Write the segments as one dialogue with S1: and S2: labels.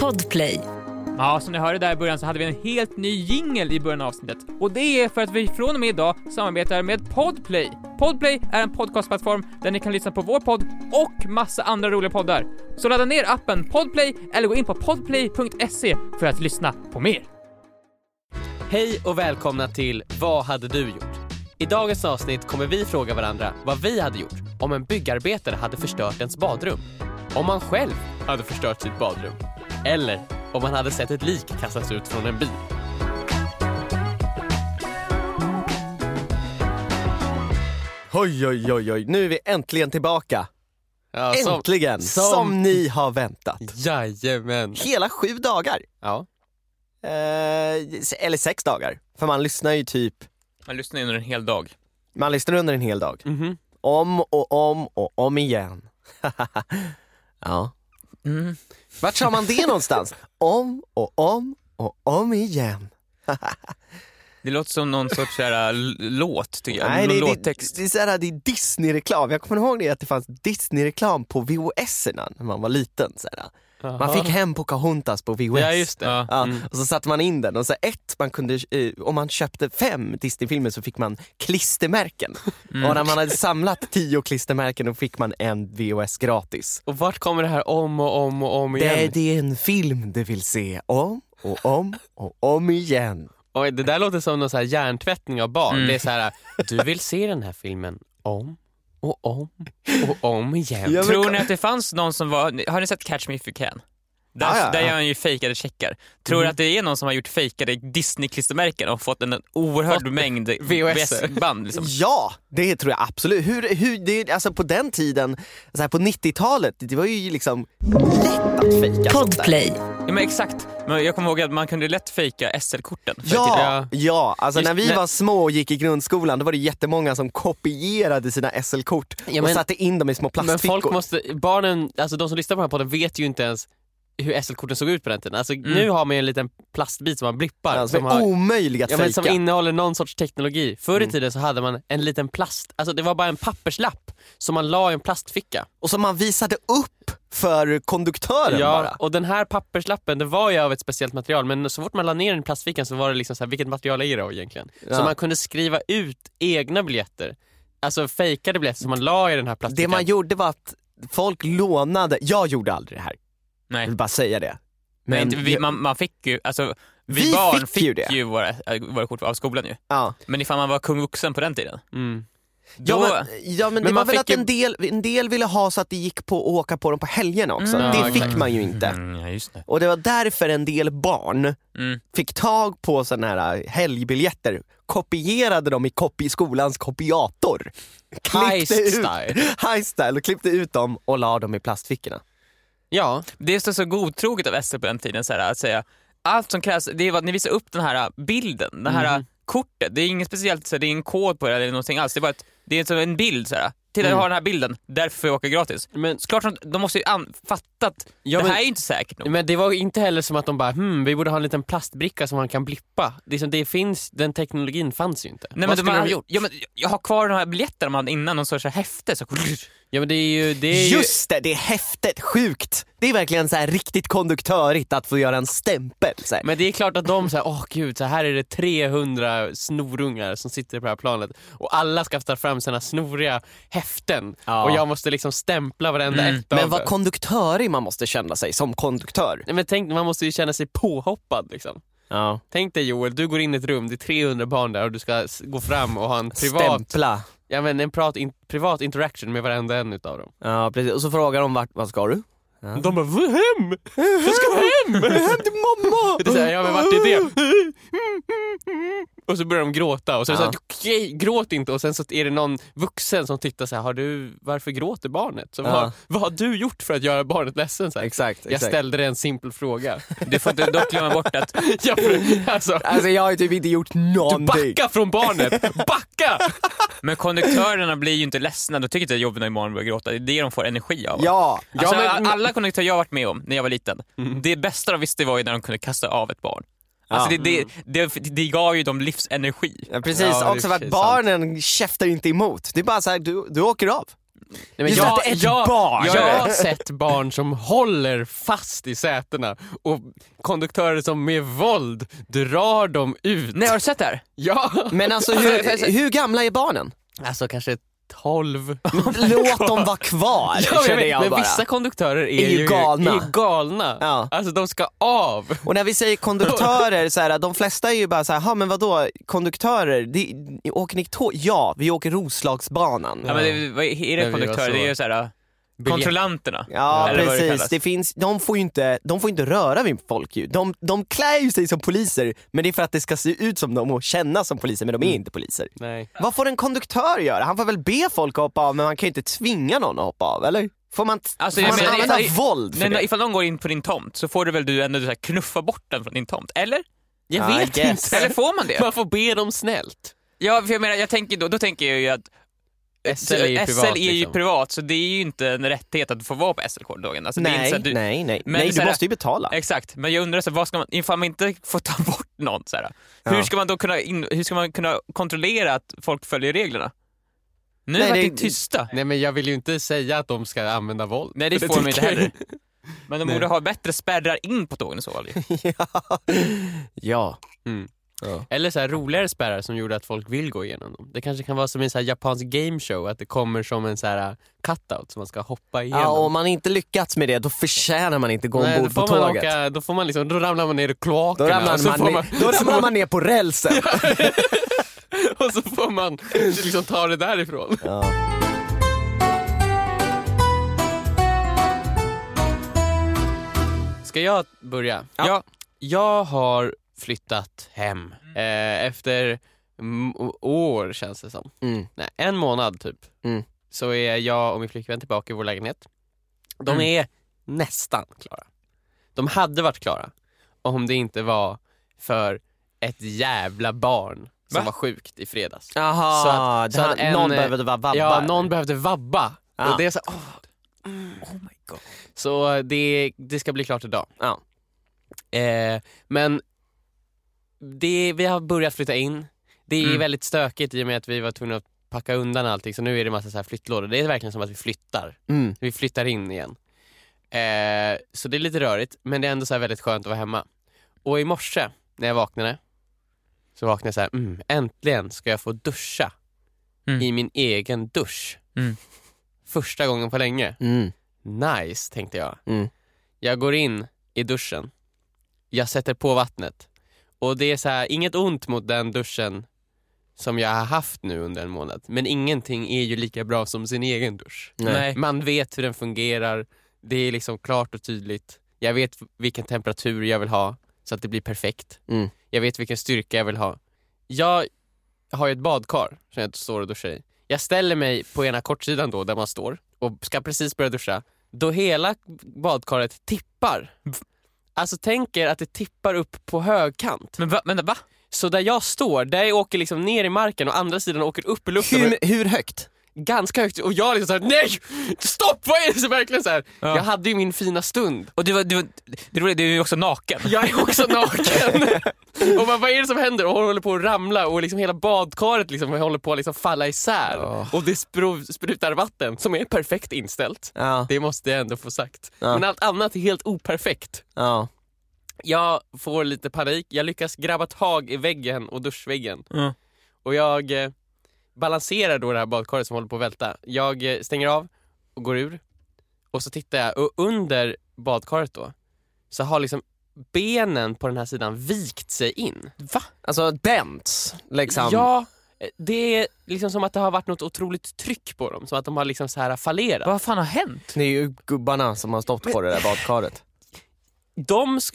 S1: Podplay.
S2: Ja, som ni hörde där i början så hade vi en helt ny jingel i början av avsnittet. Och det är för att vi från och med idag samarbetar med Podplay. Podplay är en podcastplattform där ni kan lyssna på vår podd och massa andra roliga poddar. Så ladda ner appen Podplay eller gå in på podplay.se för att lyssna på mer.
S3: Hej och välkomna till Vad hade du gjort? I dagens avsnitt kommer vi fråga varandra vad vi hade gjort om en byggarbetare hade förstört ens badrum. Om man själv hade förstört sitt badrum. Eller om man hade sett ett lik kastas ut från en bil.
S4: Oj, oj, oj, oj. Nu är vi äntligen tillbaka.
S3: Ja,
S4: Äntligen! Som,
S3: som-
S4: ni har väntat.
S3: Jajamän.
S4: Hela sju dagar.
S3: Ja.
S4: Eh, eller sex dagar. För man lyssnar ju typ,
S2: Man lyssnar under en hel dag.
S4: man lyssnar under en hel dag.
S3: Mhm.
S4: Om och om och om igen. ja.
S2: Mm.
S4: Vart sa man det någonstans? Om och om och om igen.
S2: Det låter som någon sorts här, låt, tycker
S4: Nej, det, det, det, är så här, det är Disney-reklam. Jag kommer ihåg det att det fanns Disney-reklam på vhs erna när man var liten. Så här. Man fick hem Pocahontas på VHS.
S3: Ja, just det.
S2: Ja.
S4: Ja,
S3: Mm.
S4: Och så satte man in den och så ett, man kunde, eh, om man köpte fem Disney-filmer så fick man klistermärken.
S3: Mm.
S4: Och när man hade samlat tio klistermärken då fick man en VHS gratis.
S3: Och vart kommer det här om och om och om igen?
S4: Det, det är en film du vill se om och om och om igen.
S3: Oj, det där låter som någon så här hjärntvättning av barn.
S4: Mm.
S3: Det är så här, du vill se den här filmen om och om och om igen.
S4: Ja, men-
S2: Tror ni att det fanns någon som var, har ni sett Catch Me If You Can? Där,
S4: Ah, Ja, ja,
S2: där
S4: ja. Mhm.
S2: gör han ju fejkade checkar. Tror du att det är någon som har gjort fejkade Disney-klistermärken och fått en oerhörd mängd
S3: VHS.
S2: VHS-band? Liksom?
S4: Ja, det tror jag absolut. Hur, hur, det, alltså på den tiden, så här på 90-talet, det var ju liksom lätt att fejka sånt där.
S1: Podplay.
S2: Ja, men exakt, men jag kommer ihåg att man kunde lätt fejka SL-korten. förr i
S4: Ja,
S3: Ja.
S4: ja. Alltså
S2: Just
S4: när vi
S2: när-
S4: var små och gick i grundskolan då var det jättemånga som kopierade sina SL-kort och
S3: men-
S4: satte in dem i små
S3: Men
S4: plastfickor.
S3: folk måste, barnen, alltså de som lyssnar på den här podden vet ju inte ens hur SL-korten såg ut på den tiden. Alltså nu har man ju en liten plastbit som man blippar.
S4: Mm. Ja,
S3: som
S4: som
S3: har,
S4: Alltså, är omöjliga att
S3: ja, men
S4: fejka.
S3: som innehåller någon sorts teknologi. Förr
S4: Mm.
S3: i tiden så hade man en liten plast, alltså det var bara en papperslapp som man la i en plastficka.
S4: Och som man visade upp för konduktören bara.
S3: och den här papperslappen den var ju av ett speciellt material men så fort man la ner den i plastfickan så var det liksom så här, vilket material är det av egentligen? Så
S4: Ja.
S3: man kunde skriva ut egna biljetter, alltså fejkade biljetter som man la i den här
S4: Det
S3: plastfickan.
S4: man gjorde var att folk lånade, jag gjorde aldrig det här, jag
S2: Nej,
S4: vill bara säga det.
S2: men inte, vi,
S4: jag-
S2: man, man fick ju, alltså, vi,
S4: Vi
S2: barn
S4: fick
S2: fick,
S4: ju
S2: ju,
S4: det.
S2: våra, äh, våra kort av skolan ju.
S4: ja.
S2: Men ifall man var kung vuxen på den tiden.
S3: mm.
S4: Ja,
S2: Då,
S4: men, ja men, det
S3: man
S4: var väl
S3: fick
S4: att
S3: ju-
S4: en, del, en del ville ha så att det gick på att åka på dem på helgerna också.
S2: Mm.
S4: Det
S3: Ja,
S4: fick
S3: exakt.
S4: man ju inte.
S2: Mm, ja, just det.
S4: Och det var därför en del barn
S2: Mm.
S4: fick tag på såna här äh, helgbiljetter, kopierade dem i kopi skolans kopiator. Klippte
S3: Heist
S4: ut-
S3: style.
S4: High style och klippte ut dem och la dem i plastfickorna.
S3: Ja,
S2: Det är så, så godtroget av SL på den tiden så här, att säga allt som krävs, det är vad- att ni visar upp den här eh, bilden, det
S3: Mm.
S2: här eh, kortet. Det är inget speciellt, så här, det är en kod på det eller någonting alls. Det är bara ett, det är som en bild. Så här. Titta,
S3: Mm.
S2: jag har den här bilden, därför får jag åka gratis.
S3: men
S2: Såklart, som- de måste ju an- fatta att
S3: Ja,
S2: det
S3: men-
S2: här är ju inte säkert nog.
S3: Men det var inte heller som att de bara hmm, vi borde ha en liten plastbricka som man kan blippa. Det, är som, det finns, den teknologin fanns ju inte.
S2: Nej, men
S3: Vad
S2: de
S3: skulle de
S2: har-
S3: ha gjort?
S2: Ja, men jag har kvar de här biljetterna man hade innan, någon sorts häfte. Så,
S3: Ja men det är ju... Det är ju
S4: Just det, det är häftigt, sjukt. Det är verkligen så här riktigt konduktörigt att få göra en stämpel. Så här.
S3: men det är klart att de säger åh gud, så här är det 300 snorungar som sitter på det här planet och alla ska ta fram sina snoriga häften
S4: Ja.
S3: och jag måste liksom stämpla varenda
S2: Mm.
S3: ett av
S4: Men vad
S3: det.
S4: konduktörig man måste känna sig som konduktör.
S3: Nej, men tänk, man måste ju känna sig påhoppad liksom.
S4: Ja.
S3: Tänk dig Joel, du går in i ett rum, det är 300 barn där och du ska s- gå fram och ha en privat,
S4: Stämpla.
S3: ja, men en prat, in, privat interaction med varenda en utav dem.
S4: Ja, precis. Och så frågar de vart, vad ska du?
S3: De bara, "Vad hem! Jag ska hem!
S4: Hem till mamma!
S3: Det är så här, ja men vart är det? Och så börjar de gråta och så är det
S4: Ja.
S3: såhär, okej gråt inte och sen så är det någon vuxen som tittar så här, har du, varför gråter barnet? Så,
S4: Ja.
S3: vad, vad har du gjort för att göra barnet ledsen? Så här,
S4: Exakt,
S3: Jag
S4: exakt.
S3: ställde dig en simpel fråga.
S2: du får inte dock glömma bort att
S3: jag, får- alltså,
S4: Alltså jag har ju typ inte gjort någonting.
S3: backa från barnet! Backa!
S2: men konduktörerna blir ju inte ledsna. De tycker inte att jobbet när imorgon börjar gråta. Det är det de får energi av.
S4: Ja.
S2: Alltså,
S3: Ja, men- Mm.
S2: alla konduktörer jag varit med om när jag var liten, det bästa de visste var ju när de kunde kasta av ett barn. Alltså
S4: Ja.
S2: det, det, det, det gav ju dem livsenergi.
S4: Ja,
S3: Ja,
S4: precis,
S3: det är
S4: också
S3: i
S4: för
S3: och för sig
S4: att barnen käftar inte emot. Det är bara så här, du, du åker av.
S3: Nej,
S4: Just att ett barn-
S3: Jag, har sett barn som håller fast i sätena och konduktörer som med våld drar dem ut.
S2: Nej, har du sett det här?
S3: Ja!
S4: Men alltså
S2: Alltså, alltså-
S4: hur, hur gamla är barnen?
S3: Alltså kanske 12.
S4: Låt dem vara kvar känner jag
S3: men
S4: bara.
S3: vissa konduktörer är,
S4: Är ju galna.
S3: Är ju galna.
S4: Ja.
S3: Alltså de ska av.
S4: Och när vi säger konduktörer, så här, de flesta är ju bara så här, "Ha, men vadå konduktörer, det, åker ni tåg? Ja, vi åker Roslagsbanan.
S2: Ja, men det, vad är är
S3: Nej, vi
S2: det
S3: var
S2: konduktörer?
S3: så-
S2: Det är ju såhär, kontrollanterna.
S4: Ja,
S2: Eller vad det
S4: precis.
S2: kallas.
S4: Det finns, de, får ju inte, de får inte röra vid folk ju. De, de klär ju sig som poliser, men det är för att det ska se ut som dem och kännas som poliser, men de är inte poliser.
S3: Nej.
S4: Vad får en konduktör göra? Han får väl be folk att hoppa av, men man kan ju inte tvinga någon att hoppa av, eller? Får man,
S2: Alltså,
S4: får
S2: jag
S4: man
S2: menar,
S4: använda
S2: ifall-
S4: våld för
S2: Men
S4: det?
S2: ifall någon går in på din tomt så får du väl du ändå så här knuffa bort den från din tomt? Eller?
S3: Jag
S4: I
S3: vet
S4: guess.
S3: inte.
S2: Eller får man det?
S3: Man får be dem snällt.
S2: Ja, för jag menar, jag tänker då, då tänker jag ju att
S3: SL är ju privat.
S2: ju
S3: liksom.
S2: privat, så det är ju inte en rättighet att få vara på SL-korridoren. Alltså, det är inte
S4: nej,
S2: så att du-
S4: nej, nej,
S2: Men
S4: nej.
S2: så
S4: Du
S2: här-
S4: måste ju betala.
S2: Exakt, men jag undrar så, här, vad ska man, ifall man inte får ta bort någon, så här, hur,
S4: Ja.
S2: ska man då kunna in, hur ska man kunna kontrollera att folk följer reglerna? Nu
S4: Nej,
S2: är
S4: det-
S2: det tysta.
S3: Nej men jag vill ju inte säga att de ska använda våld.
S2: Nej, det
S3: För
S2: får de inte
S3: tycker jag
S2: heller. Men de borde ha bättre spärrar in på tågen i så fall. ju.
S4: ja.
S3: Eller så här roligare spärrar som gjorde att folk vill gå igenom dem. Det kanske kan vara som en så här japansk game show, att det kommer som en så här uh, cutout som man ska hoppa igenom.
S4: ja, och om man inte lyckats med det, då förtjänar man inte gå
S3: Ehm. Nej,
S4: ombord på
S3: då får man
S4: tåget.
S3: åka, då får man liksom, då ramlar man ner i kloakerna
S4: Då
S3: och,
S4: ramlar,
S3: så
S4: man,
S3: får
S4: ner- då ramlar man ner på rälsen.
S3: och så får man liksom ta det därifrån.
S4: Ja.
S3: Ska jag börja?
S4: Ja.
S3: Jag har flyttat hem eh, efter m- år känns det som.
S4: Mm.
S3: Nej, en månad typ.
S4: Mm.
S3: Så är jag och min flickvän tillbaka i vår lägenhet. De
S2: Mm.
S3: är nästan klara. De hade varit klara om det inte var för ett jävla barn som
S2: Va?
S3: var sjukt i fredags.
S4: Aha,
S3: Så att-
S4: det
S3: så
S4: här-
S3: att en-
S4: någon behövde vara vabbar.
S3: Ja, någon behövde vabba.
S4: Ja.
S3: Och det är så, åh,
S2: Oh my god.
S3: så det, det ska bli klart idag.
S4: Ja.
S3: Eh, men det, vi har börjat flytta in. Det är
S2: Mm.
S3: väldigt stökigt i och med att vi var tvungna att packa undan allting så nu är det massa så här flyttlådor. Det är verkligen som att vi flyttar.
S4: Mm.
S3: Vi flyttar in igen. Eh, så det är lite rörigt men det är ändå så här väldigt skönt att vara hemma. Och i morse när jag vaknade så vaknade jag så här, mm, äntligen ska jag få duscha
S2: Mm.
S3: i min egen dusch.
S2: Mm.
S3: Första gången på länge.
S4: Mm.
S3: Nice, tänkte jag.
S4: Mm.
S3: Jag går in i duschen. Jag sätter på vattnet. Och det är så här, inget ont mot den duschen som jag har haft nu under en månad. Men ingenting är ju lika bra som sin egen dusch.
S4: Nej.
S2: Nej.
S3: Man vet hur den fungerar. Det är liksom klart och tydligt. Jag vet vilken temperatur jag vill ha så att det blir perfekt.
S4: Mm.
S3: Jag vet vilken styrka jag vill ha. Jag har ju ett badkar som jag står och duschar i. Jag ställer mig på ena kortsidan då där man står och ska precis börja duscha då hela badkaret tippar. Alltså tänk er att det tippar upp på högkant.
S2: Men va? Vänta, va?
S3: Så där jag står, där jag åker liksom ner i marken och andra sidan åker upp i luften.
S4: Hur, hur högt?
S3: Ganska högt och jag liksom såhär NEJ! Stopp! Vad är det? Så verkligen så här.
S2: Ja.
S3: Jag hade ju min fina stund.
S2: Och du var, du, var- det roliga, du är ju också naken.
S3: Jag är också naken. och man, vad är det som händer? Och hon håller på att ramla och liksom hela badkaret liksom håller på att liksom falla isär.
S4: Åh.
S3: Och det sprov- sprutar vatten som är perfekt inställt.
S4: Ja,
S3: Det måste jag ändå få sagt.
S4: Ja.
S3: Men allt annat är helt operfekt.
S4: ja.
S3: Jag får lite panik. Jag lyckas grabba tag i väggen och duschväggen.
S2: Ja.
S3: Och jag eh, balanserar då det här badkaret som håller på att välta. Jag eh, stänger av och går ur. Och så tittar jag och under badkaret då så har liksom benen på den här sidan vikt sig in.
S2: Va?
S4: Alltså bents liksom.
S3: Ja, eh, det är liksom som att det har varit något otroligt tryck på dem. Som att de har liksom så här fallerat.
S2: Vad fan har hänt?
S4: Det är ju gubbarna som har stått på det där badkaret.
S3: De sk-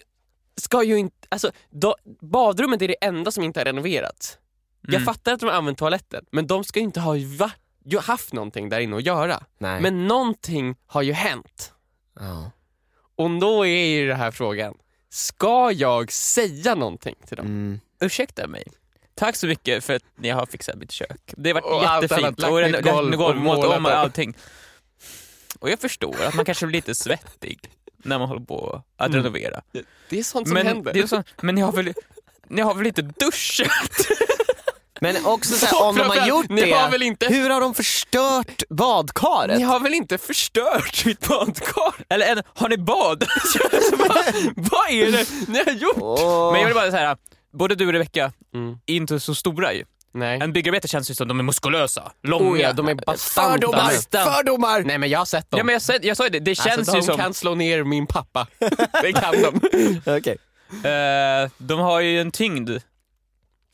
S3: ska ju inte... Alltså, då, badrummet är det enda som inte har renoverats. Jag fattar att de har använt toaletten, men de ska ju inte ha va- ju haft någonting där inne att göra.
S4: Nej.
S3: Men någonting har ju hänt.
S4: Ja.
S3: Och då är ju den här frågan, ska jag säga någonting till dem?
S4: Mm.
S2: Ursäkta mig. Tack så mycket för att ni har fixat mitt kök. Det har varit
S3: Och allt annat,
S2: jättefint.
S3: lagt
S2: Och
S3: nytt golv och
S2: målat
S3: målat
S2: om
S3: det.
S2: allting. Och jag förstår att man kanske blir lite svettig när man håller på att renovera.
S3: Mm. Det är sånt som
S2: Men,
S3: händer.
S2: det är så, men ni har väl ni har väl inte duschat?
S4: Men också så här, om de har
S3: Framförallt,
S4: gjort
S3: ni
S4: det,
S3: har väl inte-
S4: hur har de förstört badkaret?
S3: Ni har väl inte förstört mitt badkar?
S2: Eller en, har ni bad?
S3: Alltså, vad, vad är det ni har gjort?
S4: Åh.
S2: Men jag vill bara säga, både du och Rebecka
S3: Mm.
S2: är inte så stora ju.
S3: Nej.
S2: En byggarbetare känns ju som de är muskulösa, långa.
S3: Oh ja, de är bastanta.
S4: fördomar!
S2: Bastant.
S4: Fördomar!
S3: Nej men jag har sett dem.
S2: Ja, men jag, sa- jag sa ju det, det känns
S3: alltså, de
S2: ju som...
S3: kan slå ner min pappa. det kan de.
S4: Okej.
S2: Eh, de har ju en tyngd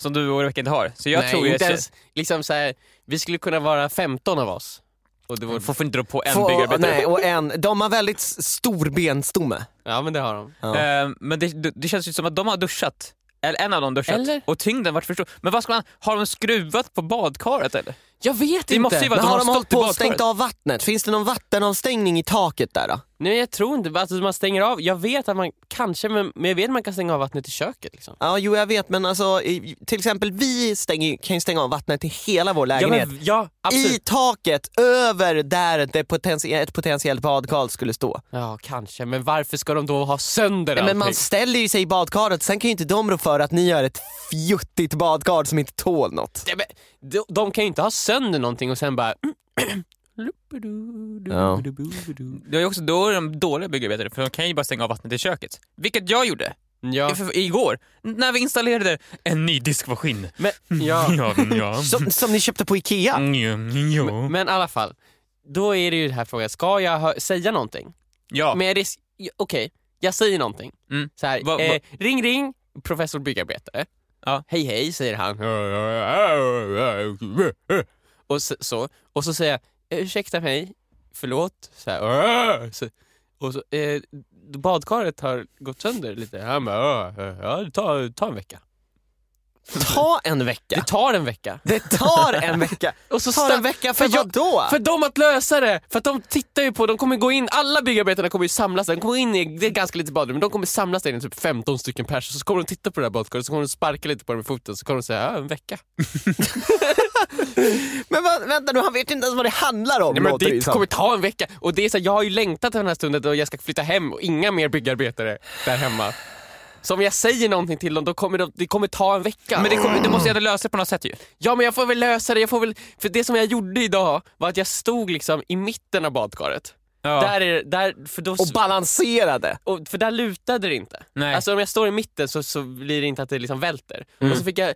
S2: som du och Rebecka inte har. Så jag
S3: Nej,
S2: tror
S3: inte
S2: jag...
S3: ens, liksom så här, vi skulle kunna vara 15 av oss. Och det var,
S2: Får inte dra på en
S4: Få,
S2: byggarbetare.
S4: nej, och en, de har väldigt s- stor benstomme.
S3: ja men det har de.
S4: Ja.
S2: Eh, men det, det, det känns ju som att de har duschat. Eller en av dem duschat.
S3: Eller?
S2: Och tyngden vart för stor. Men vad ska man, har de skruvat på badkaret eller?
S3: Jag vet
S2: Det måste ju vara
S4: Men
S2: att de
S4: har
S2: har
S4: de hållit
S2: stått i
S4: på och
S2: badkaret.
S4: stängt av vattnet? Finns det någon vattenavstängning i taket där då?
S3: Nej jag tror inte, alltså man stänger av. Jag vet att man kanske, men, men jag vet att man kan stänga av vattnet i köket liksom.
S4: Ja, jo jag vet men alltså i- till exempel vi stänger, kan ju stänga av vattnet i hela vår
S3: Ja,
S4: lägenhet.
S3: men, ja
S4: I
S3: absolut.
S4: taket, över där det potentie- ett potentiellt badkar skulle stå.
S3: Ja kanske, men varför ska de då ha sönder
S4: Men
S3: allting?
S4: man ställer ju sig i badkaret, sen kan ju inte de rå för att ni gör ett fjuttigt badkar som inte tål något.
S3: Ja, men, de, de kan ju inte ha sönder någonting och sen bara...
S4: Ja.
S2: Det är ju också, då är de dåliga byggarbetare för de kan ju bara stänga av vattnet i köket. Vilket jag gjorde
S3: mm, Ja.
S2: för, igår när vi installerade en ny diskmaskin.
S3: Men, ja.
S2: Ja, ja.
S4: Som, som ni köpte på IKEA.
S2: Mm, ja.
S3: men i alla fall, då är det ju den här frågan, ska jag hö- säga någonting?
S2: ja.
S3: Men risk... Okej, jag säger någonting.
S2: Mm.
S3: Så här,
S2: Va- va-
S3: eh, ring ring, professor byggarbetare.
S2: Ja.
S3: Hej hej, säger han. Och så, så, och så säger jag, "Eh, ursäkta mig, förlåt. Så här, "Eh." så, och så, eh, badkaret har gått sönder lite. Han bara, "Ja, ja, det tar, tar en vecka.
S4: Ta en vecka.
S3: Det tar en vecka.
S4: Det tar en vecka.
S3: Och så
S4: Tar
S3: sta-
S4: en vecka för,
S3: för jag-
S4: vadå?
S3: För dem att lösa det! För att de tittar ju på, de kommer gå in, alla byggarbetarna kommer ju samlas där, de kommer in i, det är ganska litet badrum, men de kommer samlas där inne, typ 15 stycken pers, och så kommer de titta på det där badkaret, så kommer de sparka lite på det med foten, så kommer de säga ja, en vecka.
S4: Men vad, vänta nu, han vet inte ens vad det handlar om.
S3: Nej, men
S4: låter det ju
S3: det
S4: som.
S3: kommer ta en vecka! Och det är så här, jag har ju längtat till den här stunden då jag ska flytta hem och inga mer byggarbetare där hemma. Så om jag säger någonting till dem, då kommer de, det kommer ta en vecka.
S2: Men det, kommer- det måste jag ändå lösa på något sätt ju.
S3: Ja men jag får väl lösa det, jag får väl, för det som jag gjorde idag var att jag stod liksom i mitten av badkaret.
S2: Ja.
S3: Där är det, där, för då...
S4: Och balanserade.
S3: och, för där lutade det inte.
S2: Nej. Mm.
S3: Alltså om jag står i mitten så, så blir det inte att det liksom välter. Och så fick jag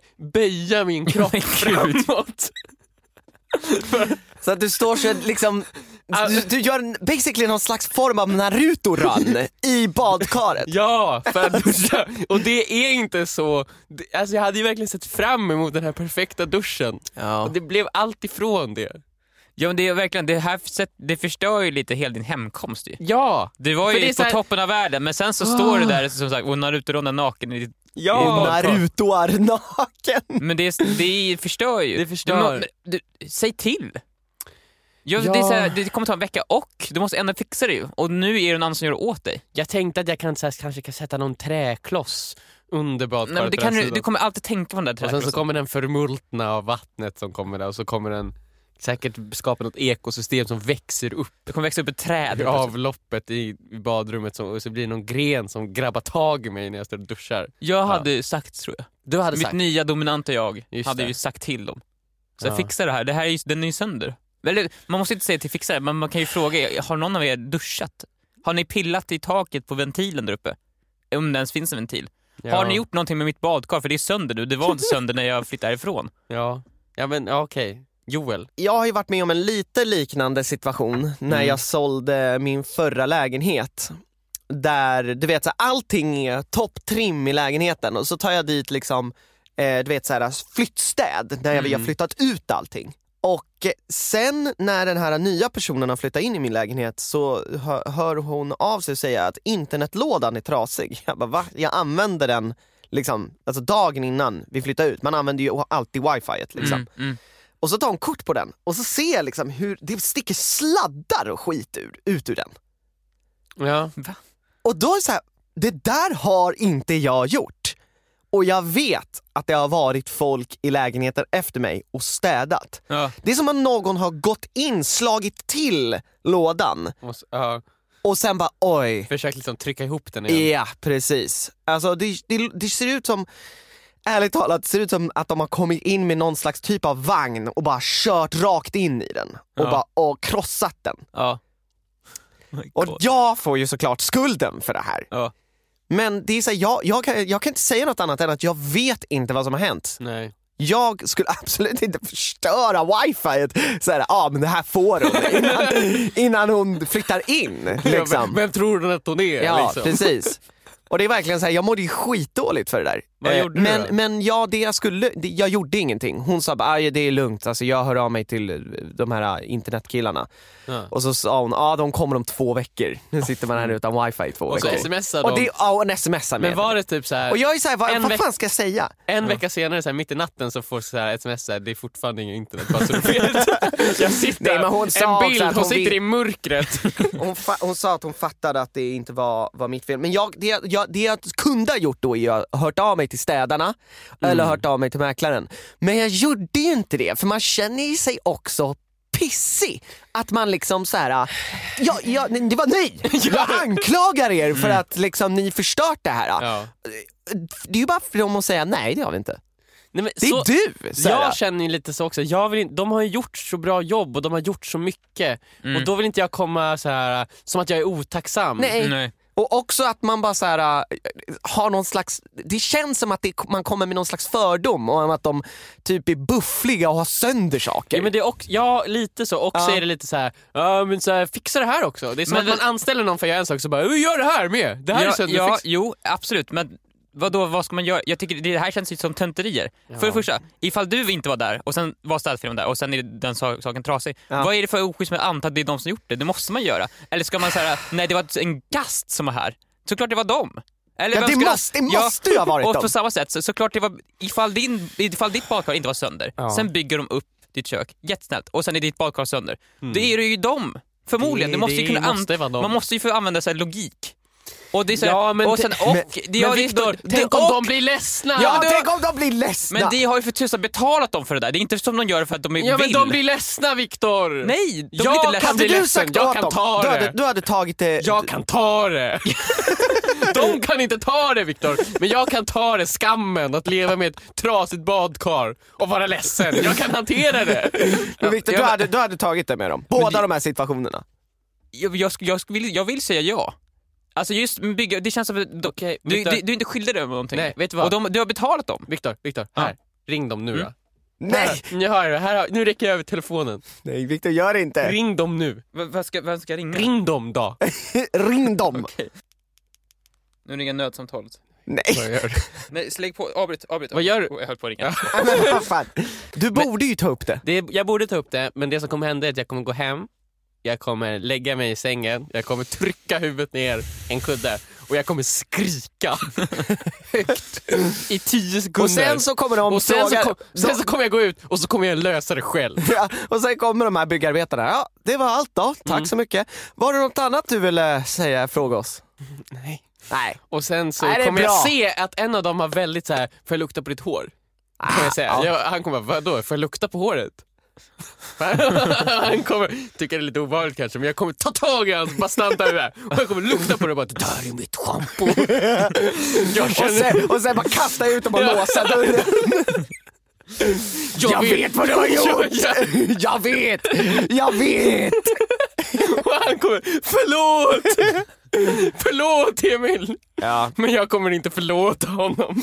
S3: böja min kropp
S2: Men gud.
S3: framåt.
S4: Så att du står så liksom, du, du gör en- basically någon slags form av Naruto-run i badkaret.
S3: Ja, för att duscha. Alltså, Och det är inte så. det- Alltså jag hade ju verkligen sett fram emot den här perfekta duschen.
S4: Ja.
S3: Och det blev allt ifrån det.
S2: Ja men det är verkligen, det här sätt, det förstör ju lite hela din hemkomst ju.
S3: Ja,
S2: Du var ju
S3: För det är
S2: på
S3: så här- Ah.
S2: toppen av världen men sen så står du där som sagt och Naruto-ronden naken i ditt badkar.
S4: Narutoar naken.
S2: Men det, det förstör ju.
S3: Det förstör.
S2: Du, må- du, säg till! Ja,
S3: Ja.
S2: Det, är så här, det kommer ta en vecka och du måste ändå fixa det ju. Och nu är det någon annan som gör det åt dig.
S3: jag tänkte att jag kan, så här, kanske kan sätta någon träkloss under badkaret.
S2: Nej, men det
S3: på
S2: kan,
S3: den här
S2: du,
S3: sidan.
S2: du kommer alltid tänka på den där
S3: och sen så
S2: träkrossen.
S3: kommer den förmultna av vattnet som kommer där och så kommer den säkert skapa något ekosystem som växer upp.
S2: Det kommer växa upp ett träd.
S3: i avloppet i i badrummet som, och så blir det någon gren som grabbar tag i mig när jag står och duschar.
S2: Jag hade sagt tror jag.
S3: Du hade
S2: Mitt
S3: sagt...
S2: nya dominanta jag
S3: Just
S2: hade
S3: det.
S2: ju sagt till dem. Så
S3: Ja.
S2: fixa det här, det här är ju, den är ju sönder. Eller, man måste inte säga till fixa det, men man kan ju fråga er, har någon av er duschat? Har ni pillat i taket på ventilen där uppe? Om det ens finns en ventil.
S3: Ja.
S2: Har ni gjort någonting med mitt badkar? För det är sönder nu, det var inte sönder när jag flyttade härifrån.
S3: Ja, ja men ja, okej. Joel.
S4: Jag har ju varit med om en lite liknande situation när
S3: Mm.
S4: jag sålde min förra lägenhet. Där du vet, så här, allting är topptrim i lägenheten och så tar jag dit liksom, eh, du vet, så här, flyttstäd när jag, vi har
S3: Mm.
S4: flyttat ut allting. Och eh, sen när den här nya personen har flyttat in i min lägenhet så hö- hör hon av sig och säger att internetlådan är trasig. Jag bara va? Jag använde den liksom, alltså dagen innan vi flyttade ut. Man använder ju alltid wifi liksom.
S2: Mm, mm.
S4: Och så tar hon kort på den och så ser jag liksom hur det sticker sladdar och skit ur, ut ur den.
S3: Ja.
S4: Och då är det så här, det där har inte jag gjort. Och jag vet att det har varit folk i lägenheten efter mig och städat.
S2: Ja.
S4: Det är som att någon har gått in, slagit till lådan
S3: Måste, ja.
S4: och sen bara oj,
S3: Försök liksom trycka ihop den igen.
S4: ja precis. Alltså det, det, det ser ut som ärligt talat ser det ut som att de har kommit in med någon slags typ av vagn och bara kört rakt in i den och,
S3: Ja.
S4: bara, och krossat den.
S3: Ja.
S2: Oh
S4: Och jag får ju såklart skulden för det här.
S3: Ja.
S4: Men det är så här, jag, jag, kan, jag kan inte säga något annat än att jag vet inte vad som har hänt.
S3: Nej.
S4: Jag skulle absolut inte förstöra wifi. Så här, ah, men det här får hon innan, innan hon flyttar in.
S3: Vem,
S4: Liksom.
S3: vem tror hon att hon är?
S4: Ja,
S3: liksom?
S4: precis. Och det är verkligen så här, jag mådde ju skitdåligt för det där. Eh,
S3: Vad gjorde du
S4: men,
S3: då?
S4: men ja, det jag skulle, det, jag gjorde ingenting. Hon sa bara, "Aj, det är lugnt, alltså, jag hör av mig till eh, de här eh, internetkillarna.
S3: Ja. Mm.
S4: Och så sa hon, ja ah, de kommer om två veckor. Nu sitter man här utan wifi i två
S3: Och så
S4: veckor.
S3: smsar
S4: och
S3: de.
S4: det, ja, och en smsar med
S3: Men var det typ så här,
S4: Och jag är såhär, vad,
S3: En
S4: vad
S3: veck-
S4: fan ska jag säga?
S3: en vecka senare så här, mitt i natten så får så här ett sms så här, det är fortfarande ingen internet bara så du vet. Jag sitter,
S4: Nej, men hon sa också
S3: en bild,
S4: att
S3: hon,
S4: hon
S3: sitter
S4: vill-
S3: i mörkret.
S4: Hon, fa- hon sa att hon fattade att det inte var, var mitt fel. Men jag, det, jag- jag, det jag kunde ha gjort då är att jag hört av mig till städarna
S3: Mm.
S4: eller hört av mig till mäklaren. Men jag gjorde ju inte det för man känner ju sig också pissig. Att man liksom så här, äh, ja, ja, nej, det var ni! Jag anklagar er för att liksom ni förstört det här. äh.
S3: Mm. Ja.
S4: Det är ju bara för dem att säga nej det har vi inte.
S3: Nej, men
S4: Det är
S3: så,
S4: du! Så här, äh.
S3: jag känner ju lite så också, jag vill inte, de har ju gjort så bra jobb och de har gjort så mycket och då vill inte jag komma så här som att jag är otacksam.
S4: nej.
S2: Nej.
S4: Och också att man bara så här, äh, har någon slags, det känns som att det, man kommer med någon slags fördom om att de typ är buffliga och har sönder saker.
S3: Ja, men det är också, ja lite så. Också
S4: Ja.
S3: är det lite så här, ja men så här, fixa det här också. Det är som
S2: Men
S3: att
S2: det-
S3: man anställer någon för att göra en sak så bara, "Vi gör det här med. Det här är
S2: Ja,
S3: sönder,
S2: ja
S3: fixa."
S2: jo, absolut. Men vadå, vad ska man göra? Jag tycker det här känns ju som tönterier. För det första, ifall du inte var där och sen var städfirman där och sen är den sa- saken trasig. Vad är det för oschysst med att anta att det är de som gjort det? Det måste man göra. Eller ska man säga, nej det var en gast som var här. Såklart det var dem. Eller
S4: Ja,
S2: vem
S4: det
S2: skulle-
S4: måste- det måste ju ha varit
S2: Och
S4: dem.
S2: på samma sätt, så, såklart det var, ifall, din, ifall ditt badkar inte var sönder, sen bygger de upp ditt kök jättesnällt och sen är ditt badkar sönder.
S4: Mm.
S2: Det är ju dem, förmodligen.
S3: Det-
S2: du måste ju
S3: det
S2: kunna an-
S3: måste vara dem.
S2: man måste ju få använda sig av logik. Och det är så här,
S3: Ja, men
S2: och
S3: te-
S2: sen och...
S4: men-
S2: det,
S3: Men
S2: ja, det-
S3: Viktor,
S2: det-
S3: tänk om
S2: och-
S3: de blir ledsna!
S4: ja,
S2: du-
S4: tänk om de blir ledsna!
S2: Men de har ju för tusan betalat dem för det där. Det är inte som de gör det för att de
S3: Ja,
S2: vill.
S3: men de blir ledsna Viktor!
S2: Nej, de
S3: Jag
S2: blir inte ledsna.
S3: kan bli
S4: hade du
S3: ledsen,
S4: sagt
S3: jag
S4: åt
S3: kan
S4: dem,
S3: ta
S4: du,
S3: det.
S4: hade, du hade tagit det...
S3: Jag kan ta det! De kan inte ta det Viktor, men jag kan ta det, skammen att leva med ett trasigt badkar och vara ledsen. Jag kan hantera det.
S4: men Victor, du,
S2: Ja, men-
S4: hade, du hade tagit det med dem, båda de här situationerna.
S2: Jag, jag, sk- jag, sk- vill, jag vill säga ja. Alltså just med bygga, det känns som att de, du,
S3: Viktor.
S2: du, du är inte skyldig dem någonting.
S3: Nej, vet du vad?
S2: Och de, du har betalat dem.
S3: Viktor, Viktor,
S2: Ja.
S3: här. Ring dem nu då.
S4: Nej!
S3: Ni hör det, här, har- nu räcker jag över telefonen.
S4: Nej Victor gör det inte.
S3: Ring dem nu.
S2: V- vad ska, vem ska ringa?
S3: Ring dem då.
S4: Ring dem!
S2: Nu ringer nödsamtalet.
S4: Nej
S3: Vad gör du?
S2: Nej, slägg på. Avbryt, avbryt.
S3: Vad gör du?
S2: Jag höll på att ringa.
S4: men vad fan. Du borde ju ta upp det.
S3: Det, jag borde ta upp det, men det som kommer hända är att jag kommer gå hem, jag kommer lägga mig i sängen, jag kommer trycka huvudet ner en kudde och jag kommer skrika högt i tio sekunder.
S4: Och sen så kommer de
S3: Och sen så,
S4: fråga-
S3: kom, sen så kommer jag gå ut och så kommer jag lösa det själv.
S4: Ja, och sen kommer de här byggarbetarna. Ja, det var allt då. Tack
S3: Mm.
S4: så mycket. Var det något annat du ville säga, fråga oss?
S3: Nej.
S4: Nej.
S3: Och sen så
S4: Nej, det är
S3: kommer
S4: bra.
S3: jag se att en av dem har väldigt så här, får jag lukta på ditt hår? Kan jag säga.
S4: Ah, ja.
S3: Jag, han kommer bara, vadå, får jag lukta på håret? han kommer tycka det är lite obehagligt kanske, men jag kommer ta tag i hans bastanta huvud och jag kommer lukta på det och bara, det där är mitt schampo. jag
S4: Och
S3: känner,
S4: sen, och sen bara kasta ut dem och låsa dörren.
S3: jag, vet.
S4: vad du har
S3: Jag, jag,
S4: Jag vet! Jag vet!
S3: och han kommer, förlåt! förlåt Emil!
S4: Ja.
S3: Men jag kommer inte förlåta honom.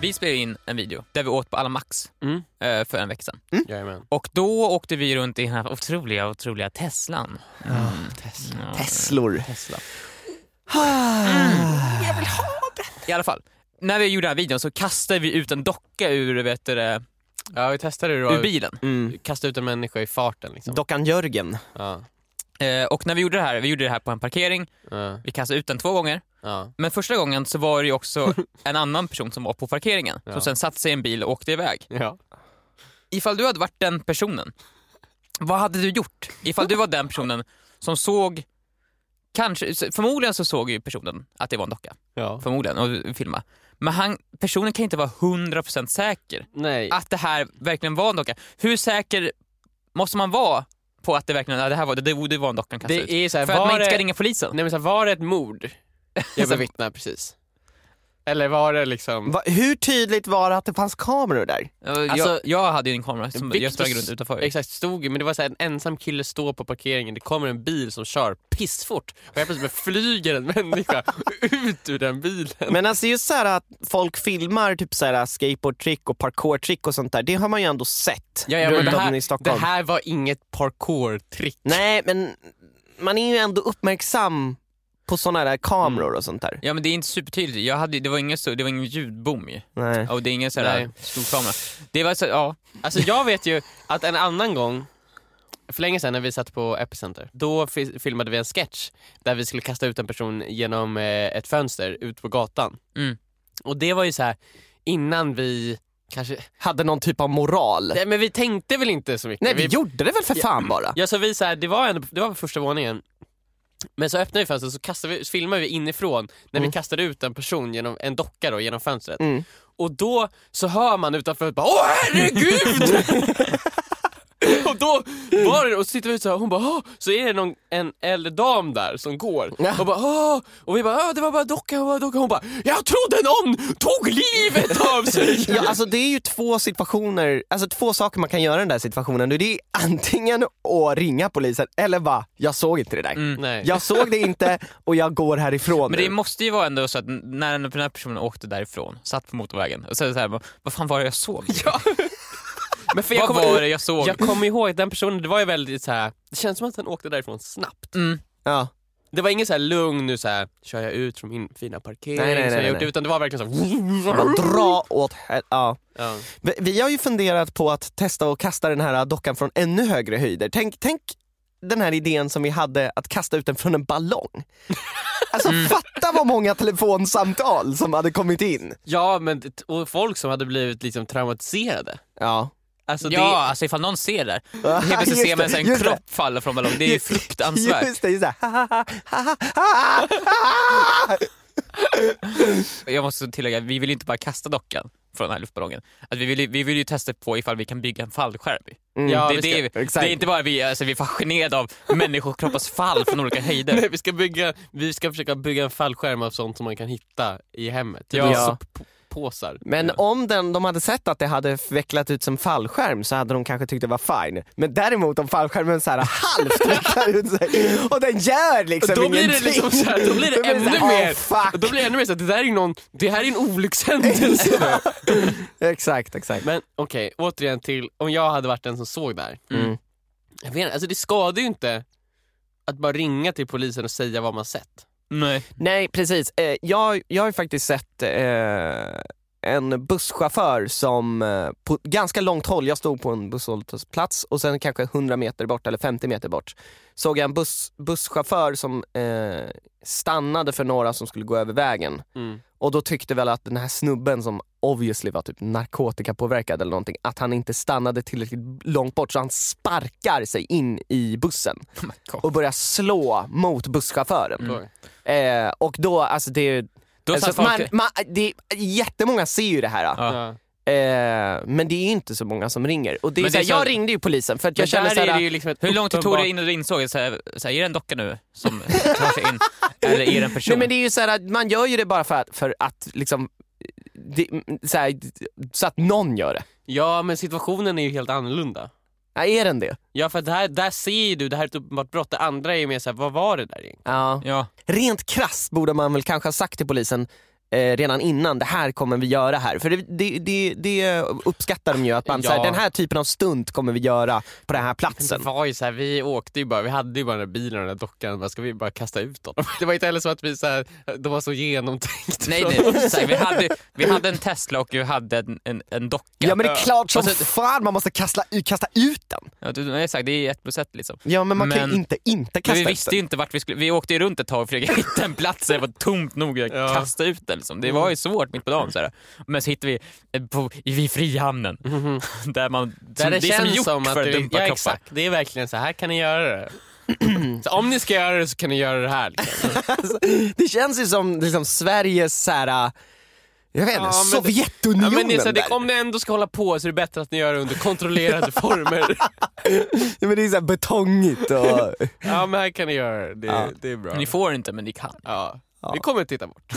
S2: Vi spelade in en video där vi åt på Alla Max
S3: Mm.
S2: eh, för en vecka sedan.
S4: Mm.
S3: Jajamän.
S2: Och då åkte vi runt i den här otroliga, otroliga Teslan. Mm. Tesla.
S4: Tesslor. Ah.
S2: I alla fall, när vi gjorde den här videon så kastade vi ut en docka ur, vet du, det,
S3: Ja, vi testade hur
S2: ur
S3: det
S2: bilen.
S3: var. Kasta ut en människa i farten liksom.
S4: Dockan Jörgen.
S3: Ja,
S2: Eh, och när vi gjorde det här, vi gjorde det här på en parkering,
S3: ja,
S2: vi kastade ut den två gånger.
S3: ja.
S2: Men första gången så var det ju också en annan person som var på parkeringen,
S3: Ja.
S2: som sen satte sig i en bil och åkte iväg.
S3: ja.
S2: Ifall du hade varit den personen, vad hade du gjort? Ifall du var den personen som såg Kanske, förmodligen så såg ju personen att det var en docka,
S3: ja.
S2: förmodligen, och filma. Men han, personen kan inte vara 100% säker
S3: Nej.
S2: att det här verkligen var en docka. Hur säker måste man vara på att det verkligen ja, det här var, det, det var en dockan kastade
S3: Det
S2: ut.
S3: är så här,
S2: För att man
S3: var,
S2: inte ska
S3: det,
S2: ringa polisen.
S3: nej, men så här, var det ett mord jag bevittnade precis? Eller var det liksom...
S4: Va, hur tydligt var det att det fanns kameror där?
S2: Alltså, jag, jag hade ju en kamera som
S3: Victor
S2: jag sprang runt utanför.
S3: Exakt, stod ju, men det var så här, en ensam kille står på parkeringen, det kommer en bil som kör pissfort och helt plötsligt flyger en människa ut ur den bilen.
S4: Men alltså just så här att folk filmar typ så här skateboardtrick och parkourtrick och sånt där, det har man ju ändå sett
S3: Ja, ja, men
S4: runt
S3: det,
S4: om i
S3: här, det
S4: Stockholm.
S3: här var inget parkour-trick.
S4: Nej, men man är ju ändå uppmärksam på såna där kameror och sånt där.
S2: Ja men det är inte supertydligt, jag hade, det var ingen, så- det var ingen ljudbom ju.
S4: Nej.
S2: Och det är ingen så här
S3: Nej.
S2: stor kamera. Det var så, ja.
S3: Alltså jag vet ju att en annan gång, för länge sedan när vi satt på Epicenter, då fi- filmade vi en sketch där vi skulle kasta ut en person genom eh, ett fönster ut på gatan.
S2: Mm.
S3: Och det var ju så här innan vi kanske,
S4: Hade någon typ av moral.
S3: nej men vi tänkte väl inte så mycket.
S4: Nej, vi gjorde det väl för fan bara?
S3: Ja, så vi så här, det var ändå, det var på första våningen. Men så öppnade vi fönstret så kastade vi, så filmade vi inifrån när
S4: Mm.
S3: vi kastade ut en person, genom, en docka då, genom fönstret.
S4: Mm.
S3: Och då så hör man utanför bara Åh herregud! och då var det, och så tittar vi ut så här, hon bara Åh! Så är det någon, en äldre dam där som går
S4: Ja.
S3: och bara Åh! Och vi bara Åh, det var bara docka, det var bara docka. Hon bara Jag trodde någon tog livet av sig!
S4: Ja, alltså det är ju två situationer, alltså två saker man kan göra i den där situationen. Det är antingen att ringa polisen eller bara, jag såg inte det där.
S3: Nej.
S4: Jag såg det inte och jag går härifrån
S2: Men det
S4: nu.
S2: måste ju vara ändå så att n- när den den här personen åkte därifrån, satt på motorvägen, och så är det så här, vad- vad fan var det jag såg?
S3: Men för
S2: Vad
S3: jag
S2: var
S3: kommer,
S2: det jag såg?
S3: jag kommer ihåg att den personen, det var ju väldigt så här. det känns som att han åkte därifrån snabbt.
S2: Mm.
S4: Ja.
S3: Det var ingen så här lugn nu så här kör jag ut från min fina parkering
S4: Nej, nej, nej,
S3: som jag
S4: nej,
S3: gjort
S4: nej.
S3: utan det var verkligen så
S4: Bara
S3: här,
S4: dra åt hel- ja.
S3: ja.
S4: vi, vi har ju funderat på att testa att kasta den här dockan från ännu högre höjder. Tänk, tänk den här idén som vi hade att kasta ut den från en ballong. Alltså
S2: Mm.
S4: fatta vad många telefonsamtal som hade kommit in.
S3: ja men det- och folk som hade blivit liksom traumatiserade.
S4: Ja.
S3: Alltså
S2: ja,
S3: det,
S2: alltså ifall någon ser det där. Helt plötsligt ser man så här en kropp falla från ballong, det är ju fruktansvärt.
S4: Just det, just det. Ha, ha, ha, ha, ha, ha.
S2: Jag måste tillägga, vi vill ju inte bara kasta dockan från den här luftballongen. Att vi, vill, ju- vi vill ju testa på ifall vi kan bygga en fallskärm.
S4: Mm.
S3: Ja,
S2: det,
S3: vi
S2: är
S3: ska-
S2: det, vi- det
S4: exakt.
S2: är inte bara vi, alltså, vi är fascinerade av människokroppars fall från olika höjder.
S3: nej, vi, ska bygga, vi ska försöka bygga en fallskärm av sånt som man kan hitta i hemmet.
S2: Ja.
S3: Ja. Soppåsar.
S4: Men
S3: ja.
S4: om den, de hade sett att det hade vecklat ut som fallskärm så hade de kanske tyckt det var fine. Men däremot om fallskärmen så här halvt vecklar ut sig och den gör liksom
S3: Då blir det
S4: ingenting.
S3: liksom så här, då blir det
S4: så
S3: ännu
S4: här,
S3: mer,
S4: Oh,
S3: och
S4: fuck.
S3: då blir det ännu mer så här, det där är ju någon, det här är en olyckshändelse.
S4: Exakt, exakt.
S3: Men okej, återigen till om jag hade varit den som såg där.
S4: Mm.
S3: Jag vet inte, alltså det skadar ju inte att bara ringa till polisen och säga vad man sett.
S2: Nej.
S4: Nej precis, Eh, jag, jag har ju faktiskt sett eh, en busschaufför som eh, på ganska långt håll, jag stod på en busshållplats och sen kanske 100 meter bort eller 50 meter bort såg jag en buss, busschaufför som eh, stannade för några som skulle gå över vägen
S2: Mm.
S4: och då tyckte väl att den här snubben som obviously var typ narkotikapåverkad eller någonting, att han inte stannade tillräckligt långt bort så han sparkar sig in i bussen
S2: Oh
S4: och börjar slå mot busschauffören.
S3: Mm.
S4: Eh, och då, alltså det är ju...
S2: Då
S4: alltså,
S2: satt folk...
S4: man, man, det är, jättemånga ser ju det här.
S2: Ja.
S3: Ja.
S4: Eh, men det är ju inte så många som ringer. Och det är
S2: Men
S4: så här,
S2: det är så-
S4: jag ringde ju polisen för att jag
S3: Men
S4: kände
S3: där är det
S4: såhär,
S3: ju liksom ett
S2: Hur lång tid tog
S3: uppenbart-
S2: det innan du insåg så här, så här, är det en docka nu som tar sig in? Eller är det en person?
S4: nej, men det är ju såhär, att man gör ju det bara för att, för att liksom, det, så, här, så att någon gör det.
S3: Ja, men situationen är ju helt annorlunda.
S4: Ja, är den det?
S3: Ja, för det här, där ser ju du, det här är ett uppenbart brott. Det andra är ju mer såhär, vad var det där egentligen?
S4: Ja.
S2: Ja.
S4: Rent krasst borde man väl kanske ha sagt till polisen eh, redan innan, det här kommer vi göra här. För det, det, det, det uppskattar de ju, att man, så här,
S3: Ja.
S4: den här typen av stunt kommer vi göra på den här
S3: Det
S4: platsen.
S3: var ju såhär, vi åkte ju bara, vi hade ju bara den där bilen och den där dockan, bara, ska vi bara kasta ut honom? Det var inte heller så att vi såhär, de var så genomtänkt.
S2: Nej, nej. Så här, vi, hade, vi hade en Tesla och vi hade en, en, en docka.
S4: Ja men det är klart som
S2: Alltså-
S4: fan man måste kasta, kasta ut den!
S2: Ja, du- nej, exakt, det är ett plus ett liksom.
S4: Ja men man kan ju
S2: Men-
S4: inte inte
S2: Men
S4: kasta
S2: vi
S4: ut
S2: visste
S4: den.
S2: ju inte vart vi skulle, vi åkte ju runt ett tag och försökte hitta en plats där det var tomt nog att
S3: Ja.
S2: kasta ut den. Liksom. Det var ju svårt mitt på dagen. Så här. Men så hittade vi eh, på, i- vid Frihamnen,
S4: Mhm.
S2: där man,
S3: Där
S2: som,
S3: det,
S2: det är som
S3: känns
S2: gjort
S3: som att
S2: för att
S3: du-
S2: dumpa
S3: ja,
S2: kroppar.
S3: exakt. Det är verkligen så här kan ni göra det. så om ni ska göra
S4: Alltså,
S3: det så kan ni göra det här. Liksom.
S4: Det känns ju som liksom, Sveriges så här, Jag vet inte,
S3: Ja, men- Ja,
S4: Sovjetunionen
S3: men Nisse, det,
S4: där.
S3: om ni ändå ska hålla på så är det bättre att ni gör det under kontrollerade former.
S4: Ja, men det är såhär betongigt och...
S3: Ja, men här kan ni göra det. Det,
S4: Ja.
S3: det är bra.
S2: Ni får inte, men ni kan.
S3: Ja.
S4: Ja.
S3: Vi kommer att titta bort.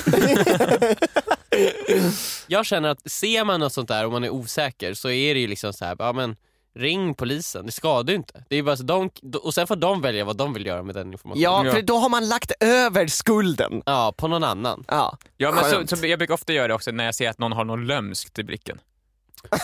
S3: jag känner att ser man något sånt där och man är osäker så är det ju liksom så här, ja men ring polisen, det skadar ju inte. Det är ju bara så de, och sen får de välja vad de vill göra med den informationen.
S4: ja,
S2: Ja.
S4: för då har man lagt över skulden.
S3: Ja, på någon annan.
S4: Ja.
S2: Ja, men
S4: Skönt.
S2: så, så, jag brukar ofta göra det också när jag ser att någon har någon lömskt i blicken.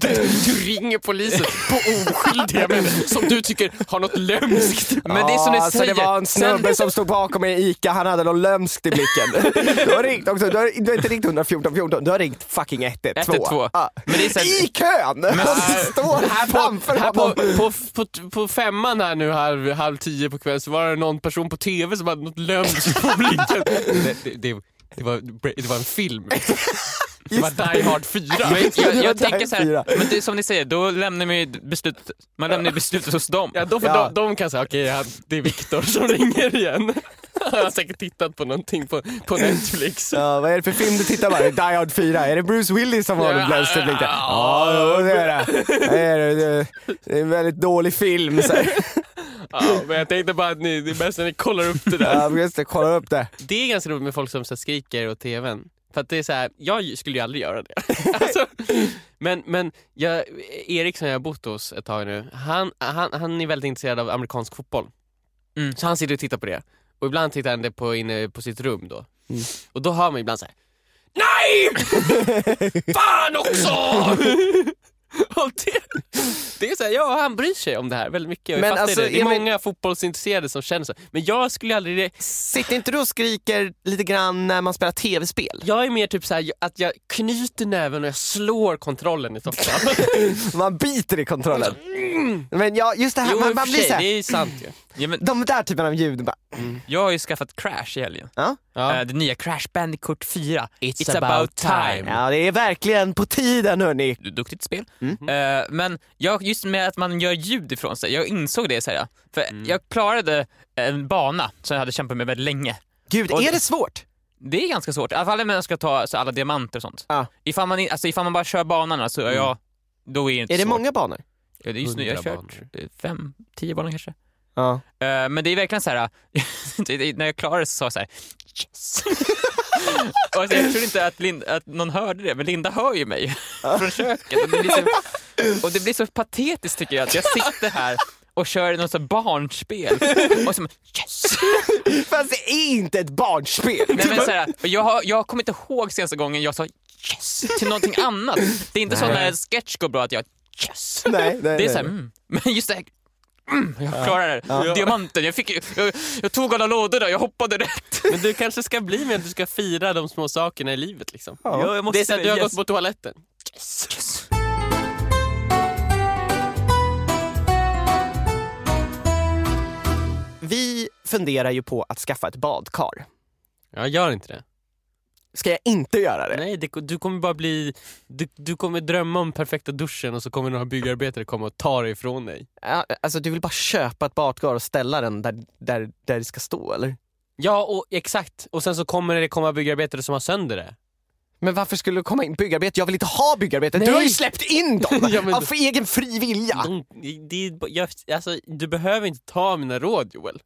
S3: Du, du ringer polisen på oskyldiga människor som du tycker har något lömskt.
S2: Men det är som ni
S4: Ja,
S2: säger.
S4: Så det var en snubbe som stod bakom mig i ICA, han hade någon lömskt i blicken. Du har ringt också, du har, du har inte ringt 114 14, du har ringt fucking 112.
S2: 112.
S4: Ja.
S2: Men det är så här-
S4: I kön! han står här framför
S3: Här på,
S4: honom.
S3: på, på, på femman här nu halv, halv tio på kvällen så var det någon person på tv som hade något lömskt på blicken. Det, det, det, det, var, det var en film. Det var
S4: Just
S3: Die Hard 4.
S2: Men jag,
S4: Det var
S2: jag
S4: där
S2: tänker så här,
S4: fyra.
S2: men det är som ni säger, då lämnar man ju beslutet, man lämnar ju beslutet hos dem.
S3: Ja, då får
S4: Ja.
S3: De, de kan säga okej, ja, det är Viktor som ringer igen. Han har säkert tittat på någonting på, på Netflix.
S4: Ja, vad är det för film du tittar på? Det är Die Hard 4. Är det Bruce Willis som har den lömskt i blicken? Ja, jo, det är det. det. är det. Det- Det är en väldigt dålig film. Så här.
S3: Ja, men jag tänkte bara att ni, det är bäst när ni kollar upp det där.
S4: Ja, men just det, kolla upp det.
S3: Det är ganska roligt med folk som så här skriker åt tvn. För att det är så här, jag skulle ju aldrig göra det. alltså, men men jag, Erik som jag har bott hos ett tag nu, han, han, han är väldigt intresserad av amerikansk fotboll.
S2: Mm.
S3: Så han sitter och tittar på det. Och ibland tittar han det på, inne på sitt rum då.
S4: Mm.
S3: Och då hör man ibland så här. NEJ! Fan också! och det, det är så här, ja han bryr sig om det här väldigt mycket. Och
S4: Men
S3: jag fattar
S4: alltså,
S3: det. det är
S4: Emil-
S3: många fotbollsintresserade som känner så. Men jag skulle aldrig det.
S4: Sitter inte du och skriker lite grann när man spelar tv-spel?
S3: Jag är mer typ såhär att jag knyter näven och jag slår kontrollen i soffan.
S4: Man biter i kontrollen. Men ja, just det här,
S3: jo
S4: man,
S3: i och
S4: man
S3: för
S4: blir
S3: sig,
S4: så
S3: det
S4: här,
S3: är ju sant ju.
S2: Ja, men
S4: De där typen av ljud. Bara,
S2: jag har ju skaffat Crash i helgen.
S4: ja.
S3: Ja.
S2: Eh, Det nya Crash Bandicoot 4.
S3: It's about time.
S4: ja, det är verkligen på tiden hörni.
S2: Duktigt spel.
S4: Mm.
S2: Eh, men jag, just med att man gör ljud ifrån sig, jag insåg det säger jag. För jag klarade en bana som jag hade kämpat med väldigt länge.
S4: Gud,
S2: Och-
S4: är det svårt?
S2: Det är ganska svårt, i alla fall när man ska ta alltså, alla diamanter och sånt.
S4: Ja.
S2: Ifall, man, in- alltså, ifall man bara kör banan så ja, då är det inte
S4: Är det
S2: svårt.
S4: många banor?
S2: Ja, det är just nu, jag har
S3: Hundra
S2: kört eh, fem, tio banor kanske.
S4: Ja.
S2: Eh, men det är verkligen så här. det- det- när jag klarade det så sa jag så här, yes! och alltså, jag tror inte att, Lind, att någon hörde det, men Linda hör ju mig från köket. Och det, blir så, och det blir så patetiskt tycker jag, att jag sitter här och kör något så här barnspel. Och så, yes!
S4: Fast det är inte ett barnspel.
S2: Nej, men så här, och jag, har, jag kommer inte ihåg senaste gången jag sa yes till någonting annat. Det är inte så när en sketch går bra att jag yes.
S4: nej, nej,
S2: Det är
S4: nej.
S2: så här, mm. men just det här, mm, jag klarar det. här. Diamanten, jag, fick, ju- jag, jag tog alla lådorna, jag hoppade rätt.
S3: Men du kanske ska bli med att du ska fira de små sakerna i livet liksom.
S2: Ja, jag måste
S3: det är så att du har
S2: säga yes.
S3: gått på toaletten.
S2: Yes.
S4: Vi funderar ju på att skaffa ett badkar.
S3: Ja, gör inte det.
S4: Ska jag inte göra det?
S3: Nej, det, du kommer bara bli... Du, du kommer drömma om perfekta duschen och så kommer några byggarbetare komma och ta dig ifrån dig.
S4: Ja, alltså du vill bara köpa ett badkar och ställa den där, där, där det ska stå eller?
S3: Ja, och exakt. Och sen så kommer det komma byggarbetare som har sönder det.
S4: Men varför skulle det komma in byggarbete? Jag vill inte ha byggarbete. Du
S3: Nej.
S4: har ju släppt in dem
S3: Ja, men-
S4: av egen fri vilja.
S3: De, det, är- jag, alltså, du behöver inte ta mina råd Joel.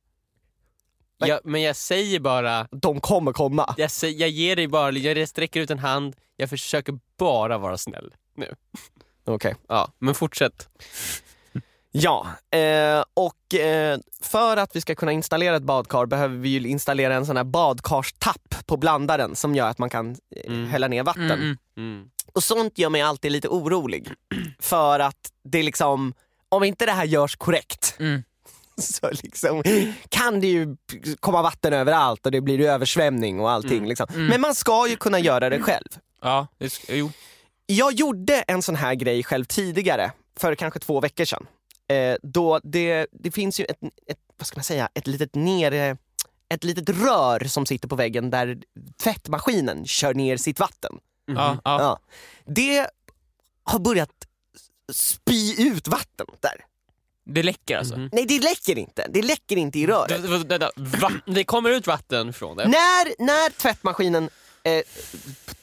S4: Nej.
S3: Jag, men jag säger bara,
S4: De kommer komma.
S3: jag, säger, jag ger dig bara, jag sträcker ut en hand, jag försöker bara vara snäll nu.
S4: Okej.
S3: Ja, men fortsätt.
S4: Ja, eh, och eh, för att vi ska kunna installera ett badkar behöver vi ju installera en sån här badkarstapp på blandaren som gör att man kan eh,
S3: Mm.
S4: hälla ner vatten.
S2: Mm, mm.
S3: Mm.
S4: Och sånt gör mig alltid lite orolig. För att det är liksom, om inte det här görs korrekt
S2: Mm.
S4: så liksom, kan det ju komma vatten överallt och det blir ju översvämning och allting.
S2: Mm.
S4: Liksom. Men man ska ju kunna göra det själv.
S2: Ja, det, sk- jo.
S4: Jag gjorde en sån här grej själv tidigare, för kanske två veckor sedan. Eh, då det, det finns ju ett, ett, vad ska man säga, ett litet nere, ett litet rör som sitter på väggen där tvättmaskinen kör ner sitt vatten.
S2: Ja, ja.
S4: Ja. Det har börjat spy ut vatten där.
S2: det läcker alltså.
S3: Mhm.
S4: Nej, det läcker inte. Det läcker inte i röret.
S3: Vänta, vänta, va? Det kommer ut vatten från det.
S4: När, när tvättmaskinen eh,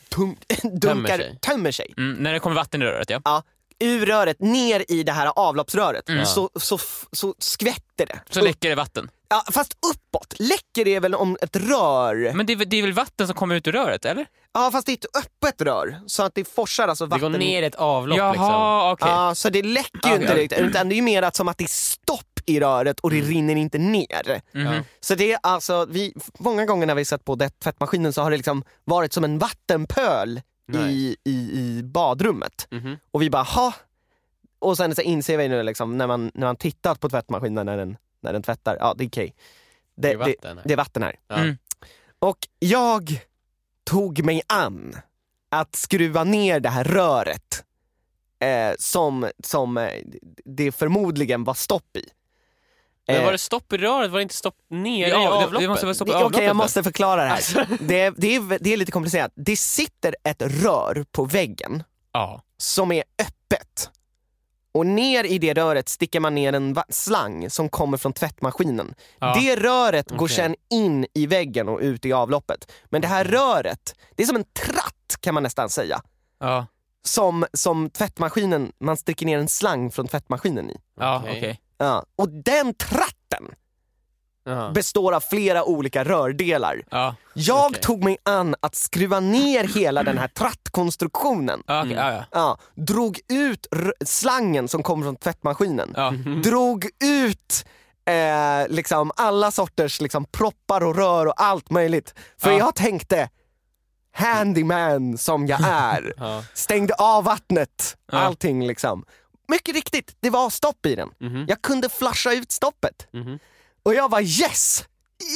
S4: tum, dunkar,
S3: sig.
S4: tömmer sig
S2: Mm, när det kommer vatten i röret ja.
S4: ur röret ner i det här avloppsröret
S2: Mm.
S4: så, så, f- så skvätter det.
S2: Så
S4: Upp-
S2: läcker det vatten.
S4: ja, fast uppåt. Läcker är väl om ett rör?
S2: Men det, är väl- det är väl vatten som kommer ut ur röret eller?
S4: Ja fast det är ett öppet rör så att det forsar alltså
S3: Det
S4: vatten.
S3: går ner i ett avlopp
S2: Jaha,
S3: liksom.
S2: okej.
S4: Ja, så det läcker ju
S2: Ja,
S4: inte
S2: ja.
S4: riktigt utan det är ju mer att som att det är stopp i röret och det rinner inte ner.
S2: Mhm.
S4: Så det är alltså, vi, många gånger när vi satt på det, tvättmaskinen så har det liksom varit som en vattenpöl i,
S3: Nej.
S4: i, i badrummet.
S3: Mhm.
S4: Och vi bara, ha Och sen så inser vi nu liksom, när, man, när man tittat på tvättmaskinen när den, när den tvättar, ja det är okej.
S3: Det
S4: Det,
S3: är
S4: det, det,
S3: vatten. här.
S4: är vatten här.
S3: Ja.
S2: Mm.
S4: Och jag tog mig an att skruva ner det här röret eh, som, som eh, det förmodligen var stopp i.
S3: Men
S4: Eh,
S3: var det stopp i röret? Var det inte stopp ner i
S2: Ja, det- det
S3: avloppet?
S2: måste vara stopp- i
S4: Okej,
S2: avloppet
S4: jag
S2: där.
S4: måste förklara det här. Det, det, är, det är lite komplicerat. Det sitter ett rör på väggen
S2: Ja.
S4: som är öppet. Och ner i det röret sticker man ner en va- slang som kommer från tvättmaskinen.
S2: Ja.
S4: Det röret går
S3: Okej.
S4: sen in i väggen och ut i avloppet. Men det här röret, det är som en tratt kan man nästan säga.
S2: Ja,
S4: Som, som tvättmaskinen, man sticker ner en slang från tvättmaskinen i.
S2: ja okej.
S3: Okej.
S4: Ja. Och den tratten
S3: Jaha.
S4: består av flera olika rördelar.
S2: Ja,
S4: Jag
S3: Okej.
S4: tog mig an att skruva ner hela den här trattkonstruktionen.
S2: ja, okej, ja, ja.
S4: Ja, drog ut r- slangen som kom från tvättmaskinen.
S2: ja.
S3: Mm.
S4: Drog ut eh, liksom alla sorters liksom, proppar och rör och allt möjligt. För
S2: Ja.
S4: jag tänkte, handyman som jag är,
S3: Ja.
S4: stängde av vattnet,
S2: Ja.
S4: allting liksom. Mycket riktigt, det var stopp i den.
S3: Mhm.
S4: Jag kunde flasha ut stoppet.
S3: Mhm.
S4: Och jag var yes!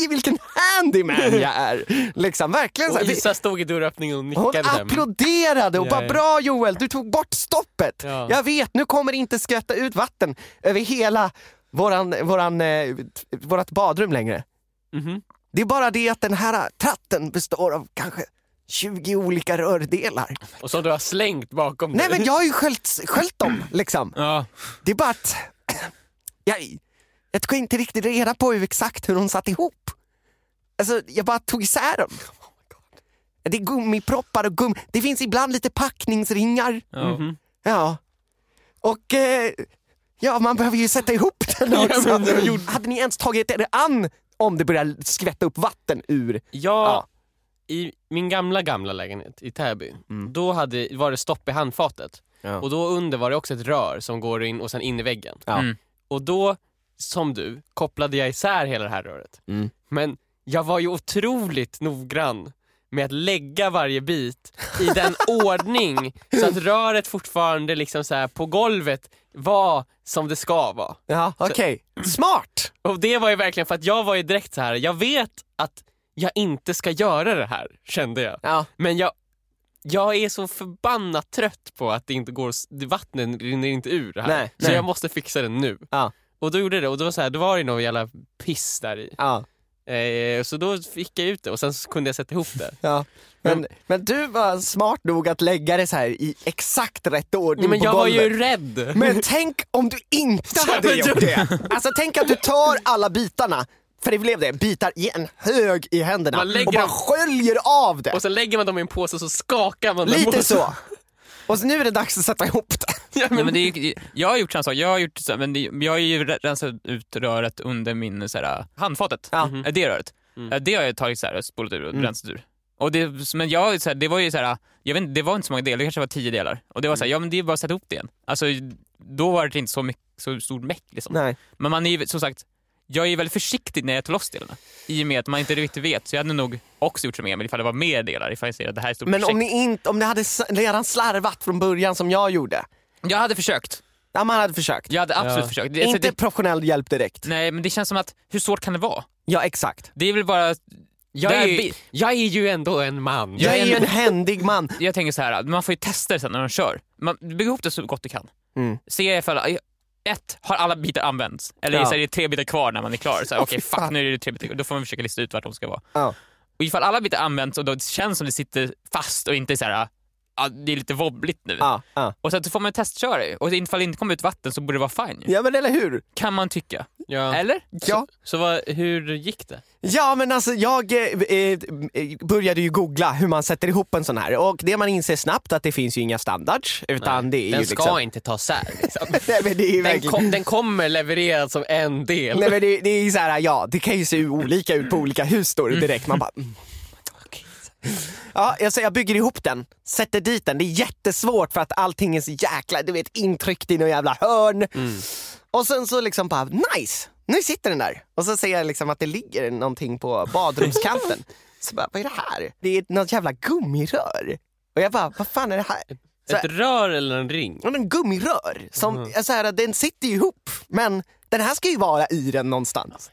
S4: I vilken handyman jag är! Liksom, verkligen så
S3: Och
S4: här.
S3: Isa stod i dörröppningen och
S4: Hon
S3: nickade där.
S4: applåderade och
S3: Ja,
S4: bara
S3: ja.
S4: bra Joel, du tog bort stoppet.
S3: Ja.
S4: Jag vet, nu kommer det inte skvätta ut vatten över hela våran, våran, eh, t- vårat badrum längre.
S3: Mhm.
S4: Det är bara det att den här tratten består av kanske 20 olika rördelar.
S3: Och som du har slängt bakom
S4: Nej
S3: dig.
S4: men jag har ju sköljt, sköljt dem liksom.
S2: ja.
S4: Det är bara att jag, jag tog inte riktigt reda på hur exakt hur de satt ihop. Alltså, jag bara tog isär dem. Det är gummiproppar och gum. Det finns ibland lite packningsringar.
S2: ja.
S3: Mm-hmm.
S4: Ja. Och eh, ja, man behöver ju sätta ihop den
S3: Ja,
S4: också.
S3: men jag gjorde-
S4: Hade ni ens tagit er an om det börjar skvätta upp vatten ur?
S3: Jag,
S4: Ja.
S3: i min gamla, gamla lägenhet i Täby, då hade, var det stopp i handfatet.
S4: Mm. Ja.
S3: Och då under var det också ett rör som går in och sen in i väggen.
S4: Ja.
S2: Mm.
S3: Och då, som du, kopplade jag isär hela det här röret.
S4: Mm.
S3: Men jag var ju otroligt noggrann med att lägga varje bit i den ordning så att röret fortfarande liksom så här på golvet var som det ska vara.
S4: Ja, okej. Smart!
S3: Och det var ju verkligen för att jag var ju direkt så här. jag vet att jag inte ska göra det här, kände jag.
S4: Ja.
S3: Men jag, jag är så förbannat trött på att det inte går, s- vattnet rinner inte ur det här.
S4: Nej,
S3: så
S4: nej.
S3: jag måste fixa det nu.
S4: Ja.
S3: Och då gjorde jag det och då var, så här, då var det någon jävla piss där i.
S4: Ja.
S3: Eh, så då fick jag ut det och sen så kunde jag sätta ihop det.
S4: Ja. Men, men du var smart nog att lägga det så här i exakt rätt ordning
S3: Nej, men
S4: på
S3: jag var
S4: golvet.
S3: ju rädd.
S4: Men tänk om du inte
S3: Ja,
S4: hade
S3: men
S4: gjort
S3: du-
S4: det! Alltså tänk att du tar alla bitarna, för det blev det, bitar i en hög i händerna
S3: Man lägger
S4: och bara
S3: dem-
S4: sköljer av det.
S3: Och sen lägger man dem i en påse och så skakar man dem.
S4: Lite
S3: åt-
S4: så. Och så nu är det dags att sätta ihop det.
S3: Ja,
S2: Nej,
S3: men,
S2: men det är, ju- jag har gjort samma sak, jag har, gjort, så här, men det, jag har ju re- rensat ut röret under min så här, handfatet.
S4: Ja.
S2: Eh, Det röret.
S3: Mm.
S2: Eh, Det har jag tagit så här, och spolat ur och
S4: Mm.
S2: rensat ur. Och det, men jag, så här, det var ju så här, jag vet, inte, det var inte så många delar, det kanske var tio delar. Och det var så
S4: Mm.
S2: här, ja men det är bara att sätta ihop det igen. Alltså, då var det inte så, mycket, så stort meck liksom.
S4: Nej.
S2: Men man är ju som sagt, jag är väldigt försiktig när jag tar loss delarna. I och med att man inte riktigt vet, så jag hade nog också gjort som Emil ifall det var mer delar, ifall jag ser att det här är ett stort
S4: Men
S2: projekt.
S4: om ni, inte, om ni hade s- redan slarvat från början som jag gjorde.
S2: Jag hade försökt.
S4: Ja, man hade försökt.
S2: Jag hade absolut
S3: Ja.
S2: försökt. Det, alltså,
S4: Inte
S2: det,
S4: professionell hjälp direkt.
S3: Mm.
S2: nej, men det känns som att, hur svårt kan det vara?
S4: Ja, exakt.
S2: Det är väl bara...
S3: jag,
S2: det
S3: är
S2: här
S3: ju,
S2: bi-
S3: jag är ju ändå en man.
S4: Jag är ju
S2: en-
S4: en händig man.
S2: jag tänker så här, man får ju testa det sen när man kör. Man bygger ihop det så gott du kan.
S4: Mm.
S2: Se ifall, ett, har alla bitar använts? Eller
S4: Ja.
S2: så är det tre bitar kvar när man är klar? Så här,
S4: Åh,
S2: Okej,
S4: fy
S2: fuck
S4: fan.
S2: nu är det tre bitar kvar. Då får man försöka lista ut vart de ska vara.
S4: Ja.
S2: Och ifall alla bitar använts och då känns som det sitter fast och inte så här, ja, det är lite wobbligt nu.
S4: Ja, ja.
S2: Och sen så får man testköra ju. och ifall det inte kommer ut vatten så borde det vara fine ju.
S4: ja men eller hur?
S2: Kan man tycka.
S3: Ja.
S2: Eller?
S4: Ja.
S3: Så vad, hur gick det?
S4: Ja men alltså jag eh, eh, eh, började ju googla hur man sätter ihop en sån här och det man inser snabbt att det finns ju inga standards utan det är
S3: den
S4: ju
S3: ska
S4: liksom...
S3: inte tas sär. Liksom.
S4: Nej, men det är ju
S3: den,
S4: verkligen...
S3: kom, den kommer levererad som en del.
S4: Nej men det, det är ju så här, ja det kan ju se olika ut på olika hus står det direkt. Man bara... Mm. okej. Ja, alltså jag bygger ihop den, sätter dit den. Det är jättesvårt för att allting är så jäkla, du vet intryckt i någon jävla hörn. Och sen så liksom bara, nice! Nu sitter den där. Och så ser jag liksom att det ligger någonting på badrumskanten. så bara, vad är det här? Det är något jävla gummirör. Och jag bara, vad fan är det här? Så
S3: Ett rör eller en ring?
S4: Ja, men gummirör. Som,
S3: Mm.
S4: alltså, så här, den sitter ju ihop, men den här ska ju vara i den någonstans.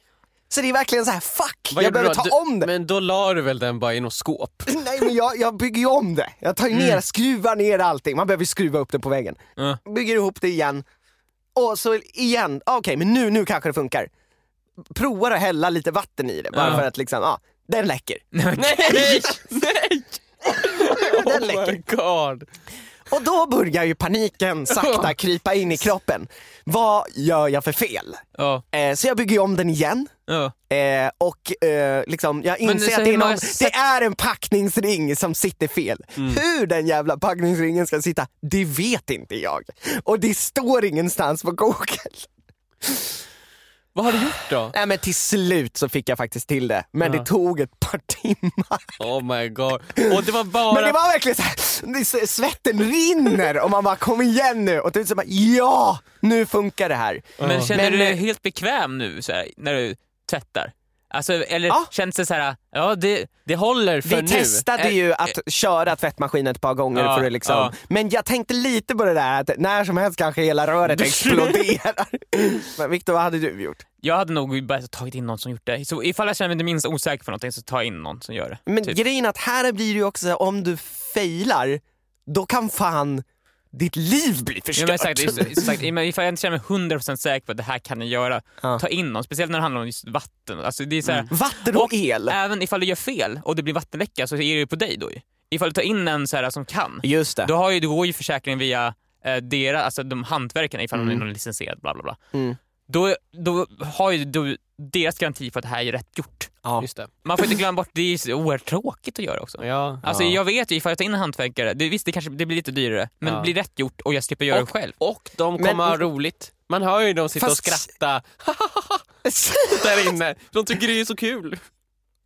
S4: Så det är verkligen så här, fuck!
S3: Vad
S4: jag
S3: gjorde
S4: behöver
S3: du
S4: ta
S3: då? Du-
S4: om det.
S3: Men då la du väl den bara i något skåp?
S4: Nej men jag, jag bygger ju om det. Jag tar ju
S3: Mm.
S4: ner, skruvar ner allting. Man behöver ju skruva upp den på väggen.
S2: Ja.
S4: Bygger ihop det igen. Och så igen, Ah, okej men nu, nu kanske det funkar. Provar att hälla lite vatten i det bara
S2: Ja.
S4: för att liksom, ja, ah, den läcker.
S3: Nej! Nej!
S4: Den
S3: Oh
S4: läcker.
S3: my god!
S4: Och då börjar ju paniken sakta krypa in i kroppen. Vad gör jag för fel?
S2: Ja.
S4: Eh, så jag bygger ju om den igen.
S2: Ja.
S4: Eh, och eh, liksom, jag
S2: så
S4: inser att det
S2: hur
S4: är, någon,
S2: många sätt-
S4: det är en packningsring som sitter fel. Hur den jävla packningsringen ska sitta, det vet inte jag. Och det står ingenstans på Google.
S3: Vad har du gjort då?
S4: Nej men till slut så fick jag faktiskt till det, men det tog ett par timmar.
S3: Oh my god. Och det var bara...
S4: Men det var verkligen såhär, svetten rinner och man bara kom igen nu. Och till slut så bara, ja! Nu funkar det här.
S2: Men känner
S4: Men,
S2: du dig
S4: eh,
S2: helt bekväm nu så här, när du tvättar? Alltså, eller
S4: Ja.
S2: känns det så här, ja det,
S3: Det håller för
S4: Vi
S3: nu.
S4: testade
S2: Eh,
S4: ju att köra tvättmaskinen ett par gånger
S2: Ja,
S4: för att liksom,
S2: ja.
S4: men jag tänkte lite på det där att när som helst kanske hela röret exploderar. men Viktor, vad hade du gjort?
S2: jag hade nog bara tagit in någon som gjort det. Så ifall jag känner mig det minst osäker för någonting så ta in någon som gör det.
S4: Men
S2: typ.
S4: grejen är att här blir det ju också så här, om du failar, då kan fan ditt liv bli
S2: Ja,
S4: förstört.
S2: men sagt, sagt, men ifall jag inte känner mig 100% säker på att det här kan jag göra,
S4: Ja. Mm.
S2: ta in någon. Speciellt när det handlar om just vatten. Alltså, det är så här,
S4: Vatten och, el.
S2: Även ifall du gör fel och det blir vattenläcka så är det ju på dig då ju. Ifall du tar in en så här som kan,
S4: Just det.
S2: då, har ju, då går ju försäkringen via eh, deras, alltså de hantverkarna ifall de är någon licensierad bla bla bla.
S4: Mm.
S2: Då, då har ju du deras garanti för att det här är rätt gjort.
S4: Ja.
S3: Just det.
S2: Man får inte glömma bort, det är ju så oerhört tråkigt att göra också.
S3: Ja.
S2: Alltså
S3: ja.
S2: jag vet ju ifall jag tar in en hantverkare, det, visst det kanske det blir lite dyrare, men
S3: Ja.
S2: det blir rätt gjort och jag slipper göra det själv.
S3: Och de
S4: Men-
S3: kommer ha roligt. Man hör ju dem sitta
S4: Fast-
S3: och skratta där inne. De tycker det är så kul.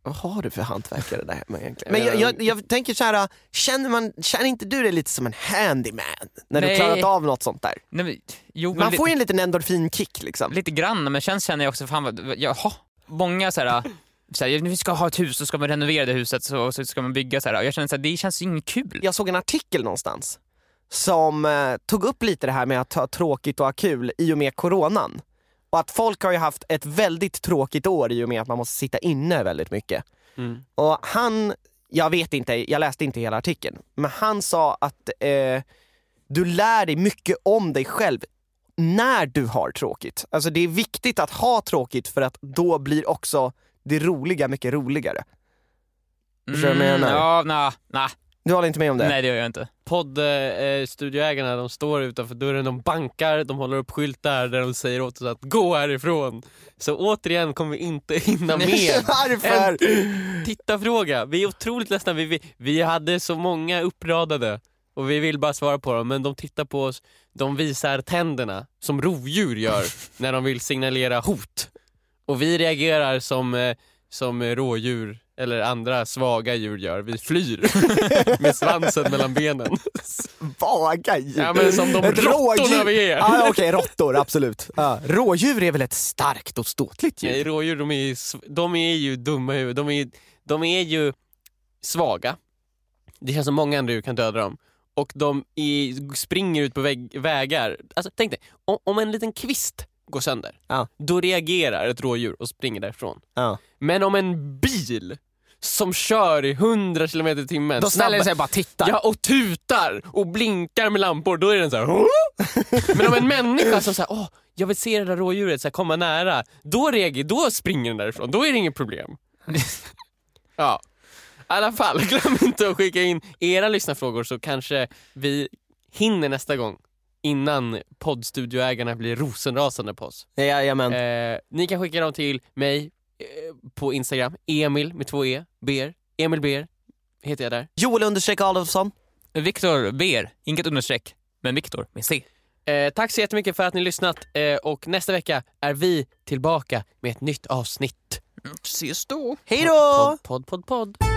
S4: Vad har du för hantverkare där hemma egentligen? Men jag, jag, jag tänker så här, känner, man, känner inte du dig lite som en handyman? När du
S2: Nej.
S4: klarat av något sånt där?
S2: Nej, men, jo, men
S4: Man
S2: li-
S4: får ju en liten endorfinkick liksom.
S2: lite grann, men sen känner jag också, fan vad, vad- jaha. Många så här, så här, nu ska jag ha ett hus och ska man renovera det huset så, och så ska man bygga så här. Och jag känner så här, det känns ju inget kul.
S4: jag såg en artikel någonstans som eh, tog upp lite det här med att ha tråkigt och ha kul i och med coronan. Och att folk har ju haft ett väldigt tråkigt år i och med att man måste sitta inne väldigt mycket.
S3: Mm.
S4: Och han, jag vet inte, jag läste inte hela artikeln, men han sa att eh, du lär dig mycket om dig själv när du har tråkigt. Alltså det är viktigt att ha tråkigt för att då blir också det roliga mycket roligare. Förstår du vad jag menar?
S2: Mm, ja, nej, nej,
S4: Du håller inte med om det?
S2: nej det gör jag inte.
S3: Poddstudioägarna eh, studioägarna, de står utanför dörren, de bankar, de håller upp skyltar där de säger åt oss att gå härifrån. Så återigen kommer vi inte hinna med.
S4: Varför?
S3: Titta fråga. vi är otroligt ledsna. Vi, vi, vi hade så många uppradade och vi vill bara svara på dem, men de tittar på oss, de visar tänderna som rovdjur gör när de vill signalera hot. Och vi reagerar som, eh, som rådjur eller andra svaga djur gör. Vi flyr med svansen mellan benen.
S4: Vaga djur.
S3: Ja, men som de
S4: Ett
S3: råttorna vi är.
S4: Ah, Okej, råttor, absolut. Ja, rådjur är väl ett starkt och ståtligt
S3: Nej,
S4: djur?
S3: rådjur de är, ju sv- de är ju dumma i huvudet. De är, ju- de är ju svaga. Det känns som många andra djur kan döda dem. Och de är, springer ut på väg, vägar. Alltså, tänk dig, om, om en liten kvist går sönder,
S4: Ja.
S3: då reagerar ett rådjur och springer därifrån.
S4: Ja.
S3: Men om en bil som kör i 100 km i timmen
S4: Då ställer den sig och bara tittar.
S3: Ja, och tutar och blinkar med lampor, då är den så här. "Åh!" Men om en människa som säger åh, jag vill se det där rådjuret så här, komma nära, då, reagerar, då springer den därifrån. Då är det inget problem. Ja. I alla fall, glöm inte att skicka in era lyssnarfrågor så kanske vi hinner nästa gång innan poddstudioägarna blir rosenrasande på oss.
S4: Jajamän.
S3: Eh, ni kan skicka dem till mig eh, på Instagram, Emil med två E, Ber, Emil Ber heter jag där.
S4: Joel understreck Adolfsson.
S2: Viktor Ber, inget understreck, men Viktor med C.
S3: Eh, tack så jättemycket för att ni lyssnat eh, och nästa vecka är vi tillbaka med ett nytt avsnitt.
S2: Ses då.
S4: Hej då!
S3: Podd, podd, podd. podd.